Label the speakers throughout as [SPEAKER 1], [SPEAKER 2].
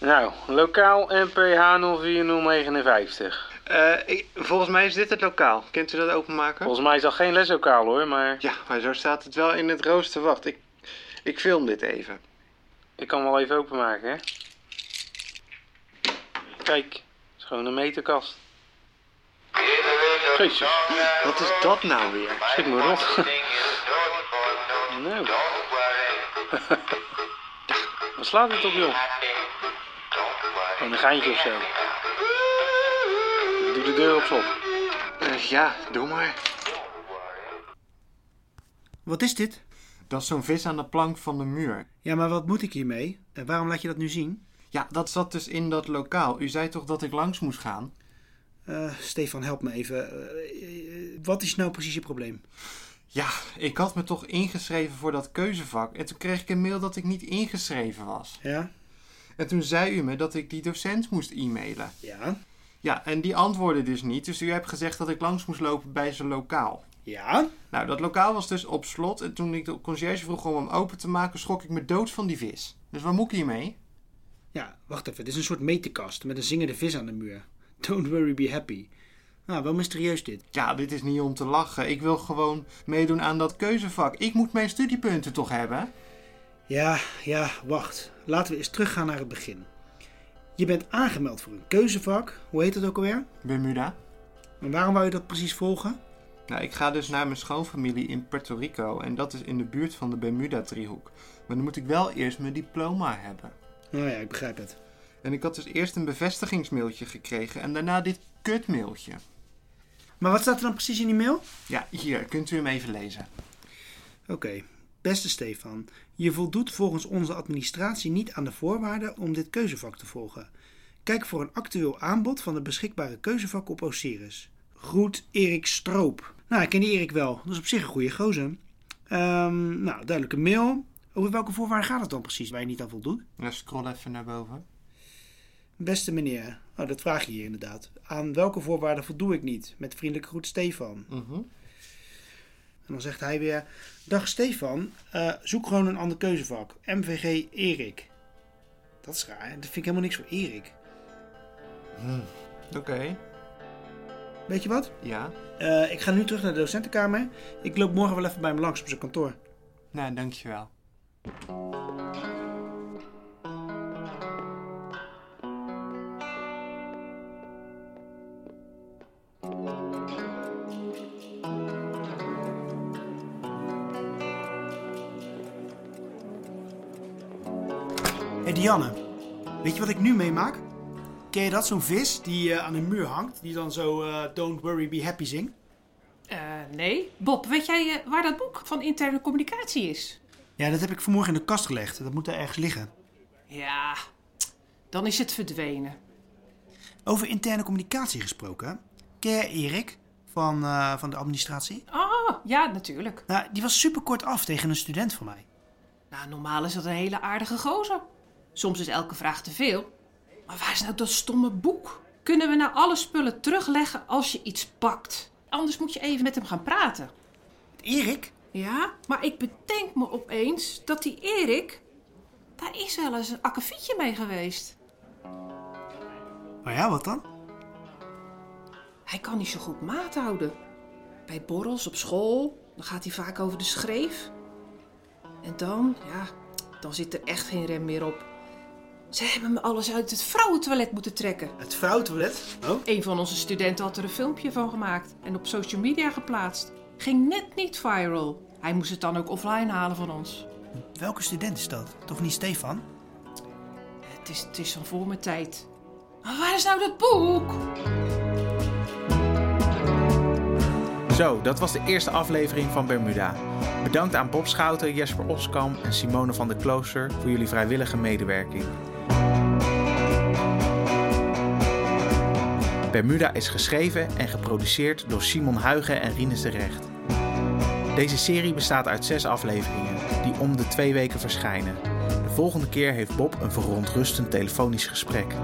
[SPEAKER 1] Nou, lokaal NPH 04059.
[SPEAKER 2] Eh, ik- volgens mij is dit het lokaal. Kunt u dat openmaken?
[SPEAKER 1] Volgens mij is dat geen leslokaal hoor, maar
[SPEAKER 2] Ja, maar zo staat het wel in het rooster. Wacht, ik, ik film dit even.
[SPEAKER 1] ik kan wel even openmaken, hè? Kijk, het is gewoon een meterkast. Jezus,
[SPEAKER 2] Wat is dat nou weer?
[SPEAKER 1] schrik me rot. Nou. Wat slaat dit op, joh? Gewoon een geintje of zo. Doe de deur op slot.
[SPEAKER 2] Eh, ja, doe maar.
[SPEAKER 3] Wat is dit?
[SPEAKER 2] Dat is zo'n vis aan de plank van de muur.
[SPEAKER 3] Ja, maar wat moet ik hiermee? En waarom laat je dat nu zien?
[SPEAKER 2] Ja, dat zat dus in dat lokaal. U zei toch dat ik langs moest gaan?
[SPEAKER 3] Eh, Stefan, help me even. Eh, eh, wat is nou precies je probleem?
[SPEAKER 2] Ja, ik had me toch ingeschreven voor dat keuzevak. En toen kreeg ik een mail dat ik niet ingeschreven was.
[SPEAKER 3] Ja?
[SPEAKER 2] En toen zei u me dat ik die docent moest e-mailen.
[SPEAKER 3] Ja?
[SPEAKER 2] Ja, en die antwoordde dus niet. Dus u hebt gezegd dat ik langs moest lopen bij zijn lokaal.
[SPEAKER 3] Ja?
[SPEAKER 2] Nou, dat lokaal was dus op slot. En toen ik de conciërge vroeg om hem open te maken, schrok ik me dood van die vis. Dus waar moet ik hiermee?
[SPEAKER 3] Ja, wacht even. Dit is een soort meterkast met een zingende vis aan de muur. Don't worry, be happy. Ah, wel mysterieus dit.
[SPEAKER 2] Ja, dit is niet om te lachen. Ik wil gewoon meedoen aan dat keuzevak. Ik moet mijn studiepunten toch hebben?
[SPEAKER 3] Ja, ja, wacht. Laten we eens teruggaan naar het begin. Je bent aangemeld voor een keuzevak. Hoe heet dat ook alweer?
[SPEAKER 2] Bermuda.
[SPEAKER 3] En waarom wou je dat precies volgen?
[SPEAKER 2] Nou, ik ga dus naar mijn schoonfamilie in Puerto Rico. En dat is in de buurt van de Bermuda-driehoek. Maar dan moet ik wel eerst mijn diploma hebben.
[SPEAKER 3] Nou ja, ik begrijp het.
[SPEAKER 2] En ik had dus eerst een bevestigingsmailtje gekregen en daarna dit kutmailtje.
[SPEAKER 3] Maar wat staat er dan precies in die mail?
[SPEAKER 2] Ja, hier, kunt u hem even lezen.
[SPEAKER 3] Oké, beste Stefan. Je voldoet volgens onze administratie niet aan de voorwaarden om dit keuzevak te volgen. Kijk voor een actueel aanbod van de beschikbare keuzevakken op Osiris. Groet Erik Stroop. Nou, ik ken die Erik wel. Dat is op zich een goede gozer. Ehm, nou, duidelijke mail. Over welke voorwaarden gaat het dan precies waar je niet aan voldoet?
[SPEAKER 2] Ja, scroll even naar boven.
[SPEAKER 3] Beste meneer, oh, dat vraag je hier inderdaad. Aan welke voorwaarden voldoe ik niet? Met vriendelijke groet Stefan. En dan zegt hij weer: Dag Stefan, eh, zoek gewoon een ander keuzevak. MVG Erik. Dat is raar, dat vind ik helemaal niks voor Erik.
[SPEAKER 2] Oké,
[SPEAKER 3] Weet je wat?
[SPEAKER 2] ja.
[SPEAKER 3] Eh, ik ga nu terug naar de docentenkamer. Ik loop morgen wel even bij hem langs op zijn kantoor.
[SPEAKER 2] Nou, dankjewel.
[SPEAKER 3] Hé hey Dianne, weet je wat ik nu meemaak? Ken je dat, zo'n vis die eh, aan een muur hangt, die dan zo eh, Don't Worry Be Happy zingt?
[SPEAKER 4] Eh, nee. Bob, weet jij eh, waar dat boek van interne communicatie is?
[SPEAKER 3] Ja, dat heb ik vanmorgen in de kast gelegd. Dat moet daar ergens liggen.
[SPEAKER 4] Ja, dan is het verdwenen.
[SPEAKER 3] Over interne communicatie gesproken. Ken jij Erik van, eh, van de administratie?
[SPEAKER 4] Oh, ja, natuurlijk.
[SPEAKER 3] Nou, die was super kort af tegen een student van mij.
[SPEAKER 4] Nou, normaal is dat een hele aardige gozer. Soms is elke vraag te veel. Maar waar is nou dat stomme boek? Kunnen we nou alle spullen terugleggen als je iets pakt? Anders moet je even met hem gaan praten.
[SPEAKER 3] Erik?
[SPEAKER 4] Ja, maar ik bedenk me opeens dat die Erik... Daar is wel eens een akkefietje mee geweest.
[SPEAKER 3] Oh ja, wat dan?
[SPEAKER 4] Hij kan niet zo goed maat houden. Bij borrels op school, dan gaat hij vaak over de schreef. En dan, ja, dan zit er echt geen rem meer op. Ze hebben me alles uit het vrouwentoilet moeten trekken.
[SPEAKER 3] Het vrouwtoilet? Oh?
[SPEAKER 4] Een van onze studenten had er een filmpje van gemaakt en op social media geplaatst. Ging net niet viral. Hij moest het dan ook offline halen van ons.
[SPEAKER 3] Welke student is dat? Toch niet Stefan?
[SPEAKER 4] Het is, het is dan voor mijn tijd. Maar waar is nou dat boek?
[SPEAKER 5] Zo, dat was de eerste aflevering van Bermuda. Bedankt aan Bob Schouten, Jesper Oskam en Simone van der Klooster voor jullie vrijwillige medewerking. Bermuda is geschreven en geproduceerd door Simon Huigen en Rinus de Recht. Deze serie bestaat uit zes afleveringen, die om de twee weken verschijnen. De volgende keer heeft Bob een verontrustend telefonisch gesprek.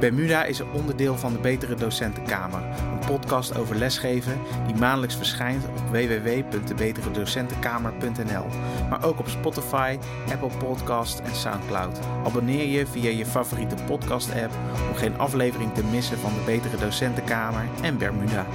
[SPEAKER 5] Bermuda is een onderdeel van de Betere Docentenkamer, een podcast over lesgeven die maandelijks verschijnt op www.debeteredocentenkamer.nl, maar ook op Spotify, Apple Podcast en SoundCloud. Abonneer je via je favoriete podcast-app om geen aflevering te missen van de Betere Docentenkamer en Bermuda.